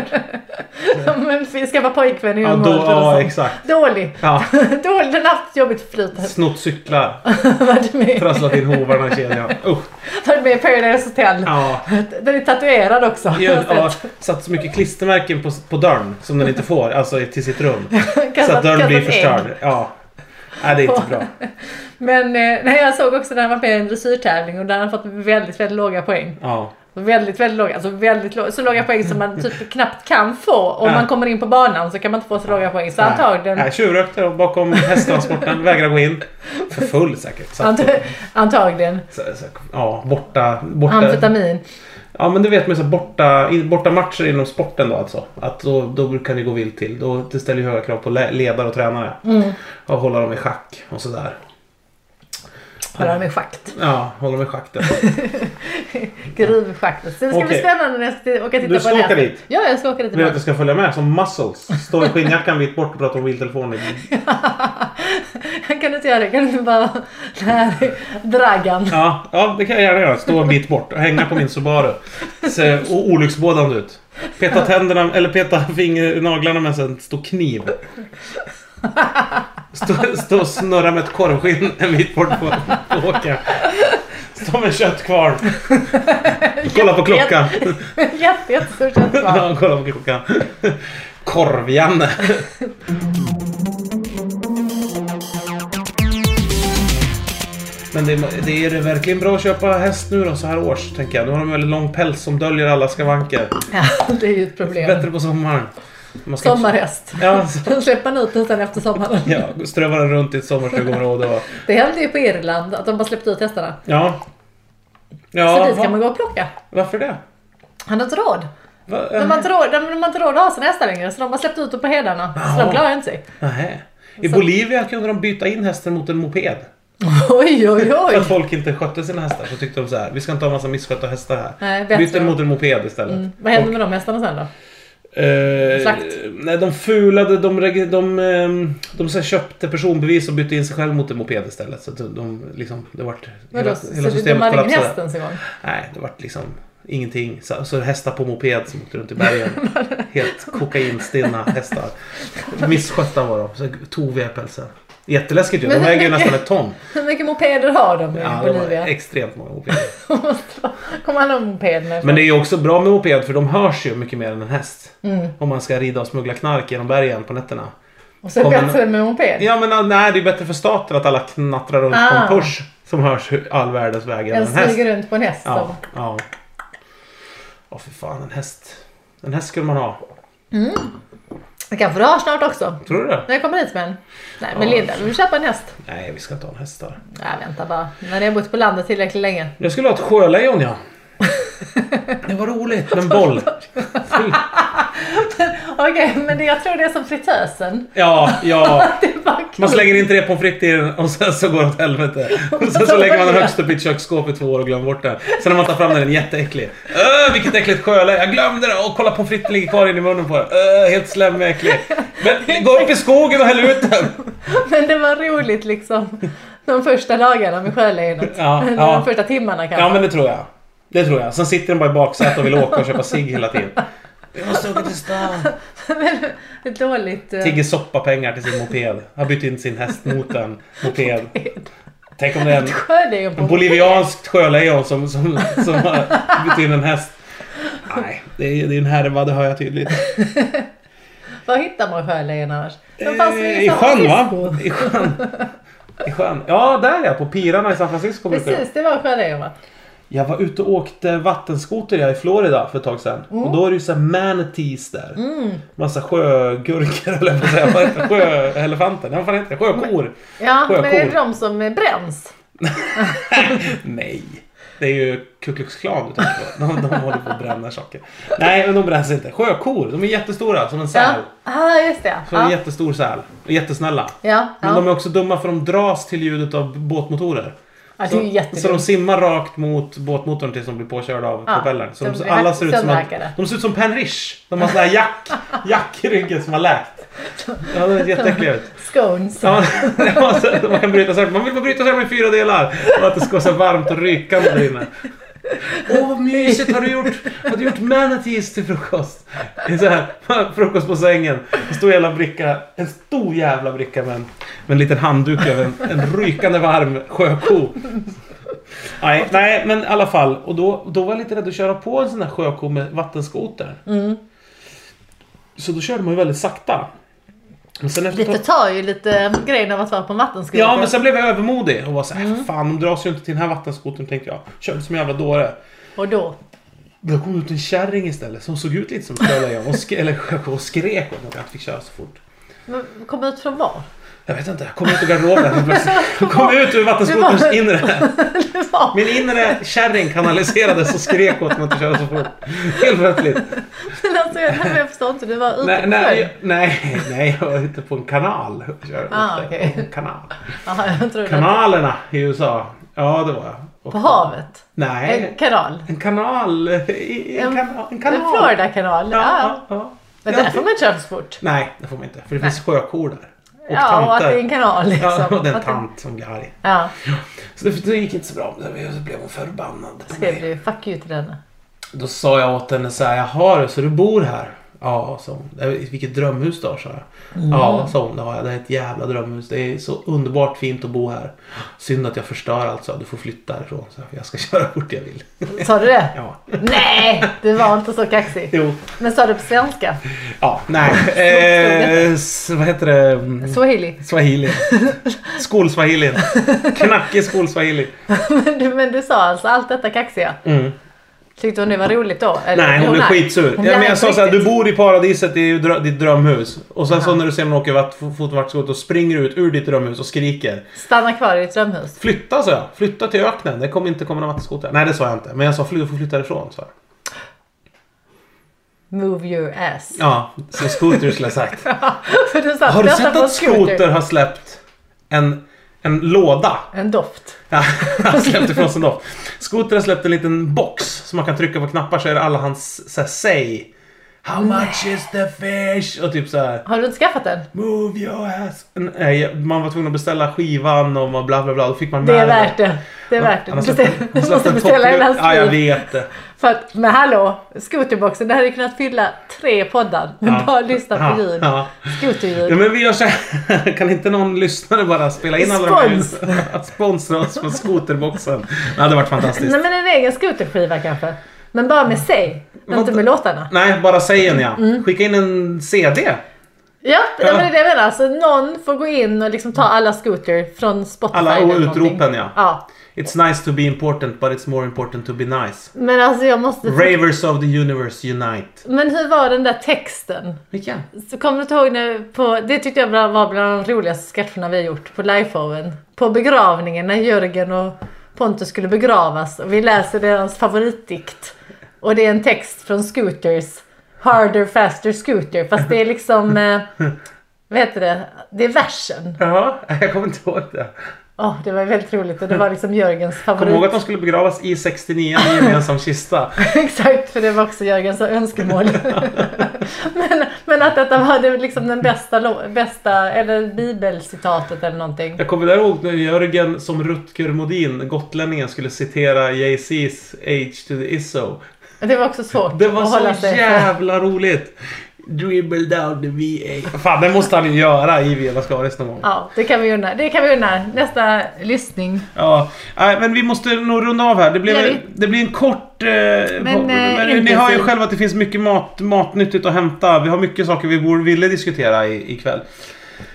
Speaker 2: men vi skaffa pojkvän i
Speaker 1: Ja, då,
Speaker 2: ung ålder och
Speaker 1: ja
Speaker 2: sånt.
Speaker 1: exakt.
Speaker 2: Dålig.
Speaker 1: Ja,
Speaker 2: Dålig. Den har haft ett jobbigt förflutet.
Speaker 1: snott cyklar,
Speaker 2: Varit med-
Speaker 1: trasslat in hovarna i kedjan. Usch.
Speaker 2: Varit med i Paradise Hotel.
Speaker 1: Ja.
Speaker 2: Den är tatuerad också. har jag
Speaker 1: Ja,
Speaker 2: sett.
Speaker 1: ja, satt så mycket klistermärken på, på dörren som den inte får, alltså i- till sitt rum. Så
Speaker 2: Kastat-
Speaker 1: att dörren
Speaker 2: kastat
Speaker 1: blir
Speaker 2: ägg.
Speaker 1: förstörd. Ja. Nej, det är inte bra.
Speaker 2: Men eh, nej, jag såg också när han var med i en dressyrtävling och där han fått väldigt, väldigt låga poäng.
Speaker 1: Ja.
Speaker 2: Väldigt, väldigt låga. Alltså väldigt låga, så låga poäng som man typ knappt kan få. Om
Speaker 1: Ja.
Speaker 2: man kommer in på banan så kan man inte få så låga poäng. Så antagligen,
Speaker 1: Nej, tjuvrökte de bakom hästtransporten, vägrade gå in. För full säkert. Satt och,
Speaker 2: ant- antagligen
Speaker 1: så, så, ja, borta, borta.
Speaker 2: amfetamin.
Speaker 1: Ja, men du vet med så här borta, i- borta matcher inom sporten då alltså. Att då, då kan det gå vilt till. Då, det ställer ju höga krav på le- ledare och tränare.
Speaker 2: Mm.
Speaker 1: Och hålla dem i schack och sådär.
Speaker 2: Har han i schakt.
Speaker 1: Ja, hålla dem i schack där.
Speaker 2: Gruvschaktet. Så det ska bli
Speaker 1: Okej.
Speaker 2: spännande när jag ska åka och titta
Speaker 1: Du
Speaker 2: på
Speaker 1: ska
Speaker 2: det här.
Speaker 1: åka dit?
Speaker 2: Ja, jag ska åka
Speaker 1: Vill
Speaker 2: dit
Speaker 1: du att
Speaker 2: imorgon.
Speaker 1: jag ska följa med som muscles? Stå i skinnjackan vitt bort och prata om mobiltelefonen.
Speaker 2: Kan du inte göra det? Kan du inte bara... Det här är Dragan.
Speaker 1: Ja, ja, det kan jag gärna göra. Stå en bit bort och hänga på min Subaru. Se o- olycksbådande ut. Peta tänderna, eller peta finger, naglarna med en stor kniv. Stå, stå och snurra med ett korvskinn en bit bort på, på åkern. Stå med köttkvarn. Kolla på klockan.
Speaker 2: Jätte, jättestor köttkvarn.
Speaker 1: Ja, kolla på klockan. Korv-Janne. Men det, det är det verkligen bra att köpa häst nu då, så här års, tänker jag. Nu har de väldigt lång päls som döljer alla skavanker.
Speaker 2: Ja, det är ju ett problem.
Speaker 1: Bättre på sommaren. Man ska-
Speaker 2: Sommarhäst.
Speaker 1: Ja, så,
Speaker 2: Den Alltså, släpper man ut hästarna efter sommaren.
Speaker 1: ja, strövar den runt i ett sommarstugområde och...
Speaker 2: Det hände ju på Irland att de bara släppte ut hästarna.
Speaker 1: Ja.
Speaker 2: Så
Speaker 1: Ja,
Speaker 2: dit kan
Speaker 1: va,
Speaker 2: man gå och plocka.
Speaker 1: varför det?
Speaker 2: Han har inte råd.
Speaker 1: Va,
Speaker 2: De
Speaker 1: eh,
Speaker 2: har inte råd, de, de har inte råd att ha sina hästar längre så de har släppt ut dem på hedarna. Så
Speaker 1: Ja.
Speaker 2: de klarar inte sig.
Speaker 1: nähä. I Bolivia kunde de byta in hästen mot en moped.
Speaker 2: Oj, oj,
Speaker 1: För
Speaker 2: oj.
Speaker 1: att folk inte skötte sina hästar så tyckte de så här. Vi ska inte ha massa misskötta hästar här.
Speaker 2: Nej, bättre.
Speaker 1: Byt den mot en moped istället.
Speaker 2: Mm. Vad hände med de hästarna sen då?
Speaker 1: Eh,
Speaker 2: Slakt.
Speaker 1: nej, de fulade, de, reg- de, ehm, de så här köpte personbevis och bytte in sig själv mot en moped istället. Så att de, de liksom, det vart...
Speaker 2: Vadå, så det- de hade ingen häst ens en gång?
Speaker 1: Nej, det vart liksom ingenting. Så, så hästar på moped som åkte runt i bergen. Helt kokainstinna hästar. Misskötta var de. Så toviga i pälsen. Jätteläskigt ju. De
Speaker 2: Men-
Speaker 1: väger ju nästan ett ton.
Speaker 2: Hur mycket mopeder har de i
Speaker 1: Ja, de har
Speaker 2: Bolivia?
Speaker 1: extremt många mopeder.
Speaker 2: Kommer alla om mopederna?
Speaker 1: Men det är ju också bra med moped för de hörs ju mycket mer än en häst. Om man ska rida och smuggla knark genom bergen på nätterna.
Speaker 2: och så är
Speaker 1: kommer
Speaker 2: det bättre med moped?
Speaker 1: Ja men ah, nej, det är bättre för staten att alla knattrar runt på en
Speaker 2: Ah.
Speaker 1: push. Som hörs hu- all världens vägar än
Speaker 2: Den
Speaker 1: en häst.
Speaker 2: smyger runt på en häst.
Speaker 1: Ja,
Speaker 2: Ja.
Speaker 1: ja. Ja, för fan en häst. En häst skulle man ha.
Speaker 2: Det kanske du har snart också.
Speaker 1: Tror du det?
Speaker 2: När jag kommer hit med en. Nej men
Speaker 1: Ja.
Speaker 2: Linda, vill du köpa en häst?
Speaker 1: Nej, vi ska inte ha en häst där.
Speaker 2: Nej vänta bara. När jag har bott på landet tillräckligt länge.
Speaker 1: Jag skulle ha ett sjölejon ja. Det var roligt med en boll.
Speaker 2: Okej men det, jag tror det är som fritösen.
Speaker 1: Ja, ja.
Speaker 2: Det är bara
Speaker 1: Man
Speaker 2: kul.
Speaker 1: slänger in tre pommes frites i den och sen så går det åt helvete. Och sen så lägger man den högst upp i ett köksskåp i två år och glömmer bort den. Sen när man tar fram den, den är jätteäcklig. Öh, vilket äckligt sjöle. Jag glömde det! Och kolla pommes fritesen ligger kvar inne i munnen på den. Öh, helt slemmig äcklig. Men gå upp i skogen och häll ut den!
Speaker 2: Men det var roligt liksom. De första dagarna med sjölejonet.
Speaker 1: Ja,
Speaker 2: de
Speaker 1: ja.
Speaker 2: första timmarna kanske.
Speaker 1: Ja, men det tror jag. Det tror jag. Sen sitter den bara i baksätet och vill åka och köpa cigg hela tiden. Vi måste åka till stan.
Speaker 2: Ett dåligt... eh,
Speaker 1: Tigger soppapengar till sin moped. Han byter in sin häst mot en moped. Tänk om det är en
Speaker 2: Sjölejon
Speaker 1: En
Speaker 2: på...
Speaker 1: bolivianskt sjölejon som, som, som har bytt in en häst. Nej, det är, det är en härva, det hör jag tydligt.
Speaker 2: Var hittar man sjölejon annars? De fanns väl
Speaker 1: Eh, I
Speaker 2: San
Speaker 1: sjön
Speaker 2: Francisco?
Speaker 1: va? I sjön. I sjön. Ja, där ja. På pirarna i San Francisco brukar jag.
Speaker 2: Precis, det var sjölejon va?
Speaker 1: Jag var ute och åkte vattenskoter jag, i Florida för ett tag sedan.
Speaker 2: Mm.
Speaker 1: Och då är det ju såhär manatees där. Massa sjögurkor eller vad säger jag? Vad heter det? Sjöelefanter? Nej, vad fan heter det? Sjökor?
Speaker 2: Ja, men det är
Speaker 1: Sjökor.
Speaker 2: de som eh, bränns.
Speaker 1: Nej. Det är ju Ku Klux Klan du tänker på. De, de håller på att bränna saker. Nej, men de bränns inte. Sjökor, de är jättestora som en säl.
Speaker 2: Ja, ah, just det.
Speaker 1: Som en
Speaker 2: Ja,
Speaker 1: jättestor säl. Och Jättesnälla.
Speaker 2: ja,
Speaker 1: Men de
Speaker 2: ja.
Speaker 1: är också dumma för de dras till ljudet av båtmotorer.
Speaker 2: ja det
Speaker 1: Så, så
Speaker 2: är ju
Speaker 1: de
Speaker 2: jättedumt.
Speaker 1: simmar rakt mot båtmotorn tills de blir påkörda av
Speaker 2: Ja,
Speaker 1: propellern. Så de,
Speaker 2: de blir
Speaker 1: alla ser ut som att,
Speaker 2: sönderhackade.
Speaker 1: De ser ut som Penrish. De har sån här jack, jack i ryggen som har läkt. Ja, de är jätteäckliga ut.
Speaker 2: Scones.
Speaker 1: Ja, ja, så man kan bryta sönder. Man vill bara bryta sönder i fyra delar. Och att det ska vara så varmt och rykande där inne. Åh vad mysigt! Har du gjort, har du gjort manatees till frukost? Det är så här, frukost på sängen. En stor jävla bricka. En stor jävla bricka med en, med en liten handduk över en, en rykande varm sjöko. Nej, nej, men i alla fall. Och då, då var jag lite rädd att köra på en sån här sjöko med vattenskoter. Så då körde man ju väldigt sakta. Men sen efter
Speaker 2: Det förtar ju lite eh, grejen av att vara på Mm. en vattenskoter.
Speaker 1: Ja, men sen blev jag övermodig och var såhär, fan de dras ju inte till den här vattenskotern tänkte jag. Körde som en jävla dåre.
Speaker 2: Och då?
Speaker 1: Då kom ut en kärring istället som såg ut lite som ett sjölejon och, sk- eller sjöko- och skrek åt mig att jag inte fick köra så fort.
Speaker 2: Men Kom ut från var?
Speaker 1: Jag vet inte, jag kom ut ur garderoben plötsligt. Kom ut ur vattenskoterns inre.
Speaker 2: Det var-
Speaker 1: Min inre kärring kanaliserades och skrek åt mig att inte köra så fort. Helt plötsligt.
Speaker 2: Men alltså, jag, nej, men jag förstår inte, du var ute
Speaker 1: Nej,
Speaker 2: på
Speaker 1: nej, jag-
Speaker 2: sjön?
Speaker 1: nej, nej, jag var ute på en kanal. Jag körde
Speaker 2: Ah,
Speaker 1: ute
Speaker 2: okej.
Speaker 1: på en kanal.
Speaker 2: Jaha, jag trodde att...
Speaker 1: Kanalerna i USA. Ja, det var jag. Och-
Speaker 2: På havet?
Speaker 1: Nej.
Speaker 2: En kanal?
Speaker 1: En kanal. i- En,
Speaker 2: En-
Speaker 1: kana, en kanal.
Speaker 2: En Florida-kanal?
Speaker 1: Ja,
Speaker 2: Ja.
Speaker 1: ja, ja.
Speaker 2: Men
Speaker 1: Ja,
Speaker 2: där får man inte köra för så fort.
Speaker 1: Nej, det får man inte. För det finns sjökor där. Och
Speaker 2: Ja, och att det är en kanal liksom.
Speaker 1: Ja, och det är en
Speaker 2: Att det-
Speaker 1: tant som blir arg.
Speaker 2: Ja,
Speaker 1: Så det, det gick inte så bra. Så blev hon förbannad på
Speaker 2: skrev
Speaker 1: mig.
Speaker 2: du fuck you till henne.
Speaker 1: Då sa jag åt henne så här, jaha så du bor här? Ja, sa hon. "Eh, Vilket drömhus du har, sa jag.
Speaker 2: Mm.
Speaker 1: Ja, sa hon. Det har jag. Det är ett jävla drömhus. Det är så underbart fint att bo här. Synd att jag förstör allt, sa jag. Du får flytta härifrån, så jag. Jag ska köra vart jag vill.
Speaker 2: Sa du det?
Speaker 1: Ja.
Speaker 2: Nej, du var inte så kaxig.
Speaker 1: Jo.
Speaker 2: Men sa du på svenska?
Speaker 1: Ja, nej. Eh, s- vad heter det? Mm,
Speaker 2: Swahili?
Speaker 1: Swahili. Skolswahili. Knackig skolswahili.
Speaker 2: Men du, men du sa alltså allt detta kaxiga?
Speaker 1: Mm.
Speaker 2: Tyckte hon det var roligt då? Eller,
Speaker 1: Nej, hon blev skitsur.
Speaker 2: Hon
Speaker 1: ja,
Speaker 2: blev
Speaker 1: men jag
Speaker 2: arg
Speaker 1: sa
Speaker 2: på
Speaker 1: såhär, du
Speaker 2: riktigt.
Speaker 1: bor i paradiset, det är ju drö- ditt drömhus. Och sen så
Speaker 2: Aha.
Speaker 1: när du ser någon åka vatt- fo- fotvaktsskott, då springer du ut ur ditt drömhus och skriker.
Speaker 2: Stanna kvar i ditt drömhus.
Speaker 1: Flytta sa jag, flytta till öknen. Det kommer inte komma någon vattenskoter. Nej, det sa jag inte. Men jag sa, "Fly- du får flytta ifrån. Så.
Speaker 2: Move your ass.
Speaker 1: Ja, som Scooter skulle ha sagt.
Speaker 2: För du satt
Speaker 1: Har du
Speaker 2: och
Speaker 1: sett
Speaker 2: väntade på
Speaker 1: att Scooter har släppt en, en låda?
Speaker 2: En doft.
Speaker 1: Ja, han släppte från sig då. Scooter har släppt en liten box som man kan trycka på knappar så är det alla hans så här, säg. How much is the fish? Och typ så här.
Speaker 2: Har du inte skaffat den?
Speaker 1: Move your ass. Nej, man var tvungen att beställa skivan och man bla bla bla. Då fick man
Speaker 2: Det är
Speaker 1: med
Speaker 2: värt det. Det är värt det.
Speaker 1: Han har
Speaker 2: Du
Speaker 1: släppt en-
Speaker 2: beställ-
Speaker 1: han har
Speaker 2: du
Speaker 1: släppt
Speaker 2: måste
Speaker 1: en
Speaker 2: beställa
Speaker 1: topplut-
Speaker 2: hela
Speaker 1: Ja, jag
Speaker 2: hans bil.
Speaker 1: vet det.
Speaker 2: För att, men hallå, skoterboxen, det hade ju kunnat fylla tre poddar. Men
Speaker 1: Ja.
Speaker 2: bara lyssna på
Speaker 1: Ja,
Speaker 2: ljud.
Speaker 1: ja. ja,
Speaker 2: Skoterljud.
Speaker 1: men vi gör så här. Kan inte någon lyssnare bara spela in alla
Speaker 2: Spons.
Speaker 1: de här Sponsra oss på skoterboxen. Det hade varit fantastiskt.
Speaker 2: Nej men en egen skoterskiva kanske. Men bara med sig. Men inte
Speaker 1: Vad-
Speaker 2: med låtarna.
Speaker 1: Nej, bara säg en ja.
Speaker 2: Mm.
Speaker 1: Skicka in en CD.
Speaker 2: Ja, det,
Speaker 1: Ja.
Speaker 2: Men det är det jag menar. Alltså, någon får gå in och liksom ta alla skoter från Spotify.
Speaker 1: Alla
Speaker 2: eller någonting.
Speaker 1: utropen, ja.
Speaker 2: ja.
Speaker 1: It's nice to be important but it's more important to be nice.
Speaker 2: Men alltså jag måste...
Speaker 1: Ravers of the universe unite.
Speaker 2: Men hur var den där texten?
Speaker 1: Vilken?
Speaker 2: Så kommer du inte ihåg när på, det tyckte jag bland- var bland de roligaste sketcherna vi gjort på liveshowen. På begravningen när Jörgen och Pontus skulle begravas och vi läser deras favoritdikt. Och det är en text från Scooters. Harder, faster, scooter. Fast det är liksom... Eh, vad heter det? Det är versen.
Speaker 1: Ja, jag kommer inte ihåg det.
Speaker 2: Åh, det var väldigt roligt och det var liksom Jörgens
Speaker 1: Kom ihåg
Speaker 2: favorit.
Speaker 1: att de skulle begravas i 69 i en gemensam kista.
Speaker 2: Exakt, för det var också Jörgens önskemål. men, men att detta var det liksom den bästa, lo- bästa eller bibelcitatet eller någonting.
Speaker 1: Jag kommer där ihåg när Jörgen som Rutger Modin, gotlänningen, skulle citera Jay-Z's H to the ISO.
Speaker 2: Det var också svårt
Speaker 1: Det var
Speaker 2: att hålla
Speaker 1: så
Speaker 2: sig.
Speaker 1: jävla roligt! Dribble down the VA. Fan, det måste han ju göra i Vela Skaris någon gång.
Speaker 2: Ja, det kan vi unna. Det kan vi unna. Nästa lyssning.
Speaker 1: Ja, nej, men vi måste nog runda av här. Det blir,
Speaker 2: Gör
Speaker 1: väl-
Speaker 2: vi?
Speaker 1: det blir en kort... Eh, men, men ni
Speaker 2: intensiv.
Speaker 1: hör ju själva att det finns mycket mat, matnyttigt att hämta. Vi har mycket saker vi borde ville diskutera i, ikväll.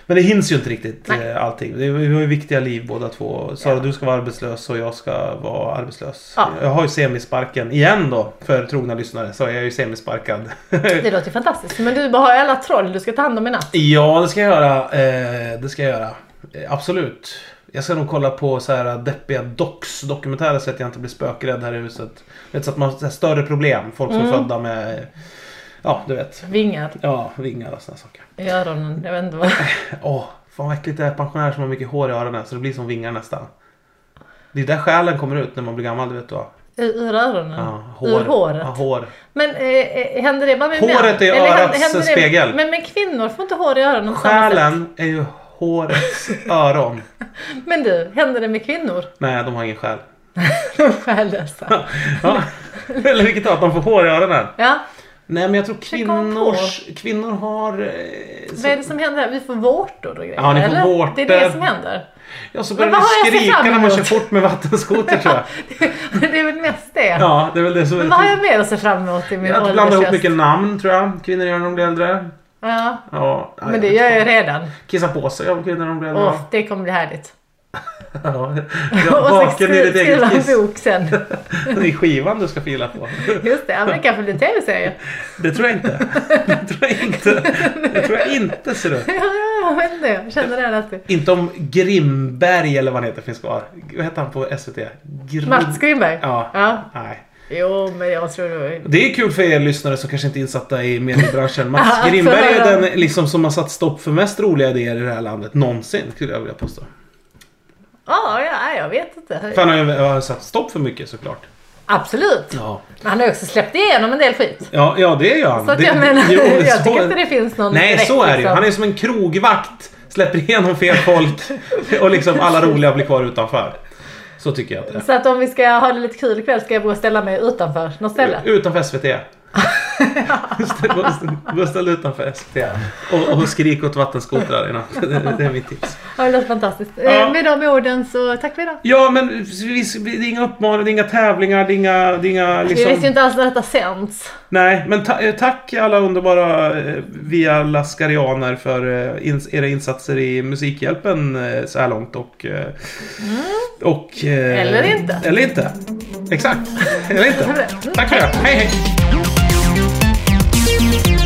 Speaker 1: Men det hinns ju inte riktigt
Speaker 2: Nej.
Speaker 1: eh, allting. Det, vi har ju viktiga liv båda två. Sara, du ska vara arbetslös och jag ska vara arbetslös.
Speaker 2: Ja.
Speaker 1: Jag har ju semisparken igen då. För trogna lyssnare så är jag ju semisparkad.
Speaker 2: Det låter ju fantastiskt. Men du bara har alla troll du ska ta hand om i natt.
Speaker 1: Ja, det ska jag göra. Eh, det ska jag göra. Eh, absolut. Jag ska nog kolla på så här deppiga docs dokumentärer så att jag inte blir spökrädd här i huset. Vet, så att man har så här större problem. Folk som är
Speaker 2: Mm.
Speaker 1: födda med... Ja, du vet.
Speaker 2: Vingar
Speaker 1: Ja, vingar och såna saker.
Speaker 2: i öronen. Jag vet inte vad.
Speaker 1: Åh, fan vad äckligt det är pensionärer som har mycket hår i öronen så det blir som vingar nästan. Det är där själen kommer ut när man blir gammal, det vet du va?
Speaker 2: Ur, ur öronen?
Speaker 1: Ja,
Speaker 2: Mm. Ur håret?
Speaker 1: Ja, hår.
Speaker 2: Men eh, eh, händer det bara med män?
Speaker 1: Håret är
Speaker 2: Eller händer-
Speaker 1: örats
Speaker 2: händer det-
Speaker 1: spegel.
Speaker 2: Men, men kvinnor får inte hår i öronen på samma sätt.
Speaker 1: Själen är ju hårets öron.
Speaker 2: Men du, händer det med kvinnor?
Speaker 1: Nej, de har ingen själ.
Speaker 2: De är Själlösa.
Speaker 1: Ja. Eller vilket av att de får hår i öronen.
Speaker 2: Ja,
Speaker 1: Nej men jag tror
Speaker 2: Försöker hon
Speaker 1: kvinnors, kvinnor har... eh,
Speaker 2: vad är
Speaker 1: Så,
Speaker 2: det som händer? här? Vi får vårtor och grejer.
Speaker 1: Ja, ni får
Speaker 2: eller?
Speaker 1: vårtor.
Speaker 2: Det är det som händer.
Speaker 1: ja, så börjar
Speaker 2: vad har
Speaker 1: det
Speaker 2: jag sett
Speaker 1: skrika
Speaker 2: fram
Speaker 1: när man kör
Speaker 2: emot?
Speaker 1: fort med vattenskoter tror jag.
Speaker 2: det är väl mest det.
Speaker 1: Ja, det är väl det som är
Speaker 2: Men vad har
Speaker 1: det
Speaker 2: jag mer att se fram emot i min
Speaker 1: Att blanda ihop
Speaker 2: åldershäst?
Speaker 1: mycket namn tror jag kvinnor gör när de blir äldre.
Speaker 2: Ja,
Speaker 1: Ja, nej,
Speaker 2: men det
Speaker 1: vet
Speaker 2: gör jag ju
Speaker 1: inte.
Speaker 2: redan.
Speaker 1: Kissa på sig gör kvinnor när de blir äldre.
Speaker 2: Åh,
Speaker 1: va?
Speaker 2: det kommer bli härligt.
Speaker 1: Ja.
Speaker 2: Och
Speaker 1: Ja,
Speaker 2: så
Speaker 1: Vaken i
Speaker 2: skri-
Speaker 1: ditt eget
Speaker 2: skriva en
Speaker 1: kiss.
Speaker 2: bok sen.
Speaker 1: Det är skivan du ska fila på.
Speaker 2: Just det, ja, men det kanske blir en tv-serie.
Speaker 1: Det tror jag inte. Det tror jag inte. Det tror jag inte ser du.
Speaker 2: Ja, ja, jag vet inte. Jag känner det här alltid.
Speaker 1: Inte om Grimberg eller vad han heter finns kvar. Vad heter han på SVT? Grim...
Speaker 2: Mats Grimberg?
Speaker 1: Ja.
Speaker 2: ja.
Speaker 1: Nej.
Speaker 2: Jo, men jag tror det. var-
Speaker 1: Det är kul för er lyssnare som kanske inte är insatta i mediebranschen.
Speaker 2: Ja,
Speaker 1: Mats
Speaker 2: för
Speaker 1: Grimberg är
Speaker 2: öronen.
Speaker 1: den liksom som har satt stopp för mest roliga idéer i det här landet någonsin skulle jag vilja påstå.
Speaker 2: Ja, ja, jag vet
Speaker 1: För
Speaker 2: inte.
Speaker 1: han har ju har satt stopp för mycket såklart.
Speaker 2: Absolut.
Speaker 1: Ja,
Speaker 2: Men han har ju också släppt igenom en del skit.
Speaker 1: ja, ja det gör han.
Speaker 2: Så att
Speaker 1: det,
Speaker 2: jag menar,
Speaker 1: jo,
Speaker 2: jag
Speaker 1: så-
Speaker 2: tycker inte det finns någon
Speaker 1: Nej,
Speaker 2: direkt,
Speaker 1: så är det ju.
Speaker 2: liksom.
Speaker 1: Han är som en krogvakt. Släpper igenom fel folk och liksom alla roliga blir kvar utanför. Så Så tycker jag att det
Speaker 2: Så att om vi ska ha det lite kul ikväll ska jag gå och ställa mig utanför något ställe.
Speaker 1: är. Utanför SVT. Ställ- gå- ställ- Gå och ställ utanför SVT. Och, och skrik åt vattenskotrar i natt. Det det är mitt tips.
Speaker 2: Ja, det låter fantastiskt.
Speaker 1: Ja.
Speaker 2: Eh, Med de orden så tack för idag.
Speaker 1: Ja men vi, det är inga uppmaningar, det är inga tävlingar, det är inga... Det är inga
Speaker 2: Vi visste ju
Speaker 1: liksom,
Speaker 2: inte alls när detta sänds.
Speaker 1: nej men ta, eh, tack alla underbara eh, via Laskarianer för eh, ins, era insatser i Musikhjälpen eh, så här långt och... eh, och eh,
Speaker 2: Mm. Eller inte.
Speaker 1: Eller inte. Exakt. Eller inte. Tack för det. Hej hej.
Speaker 3: Thank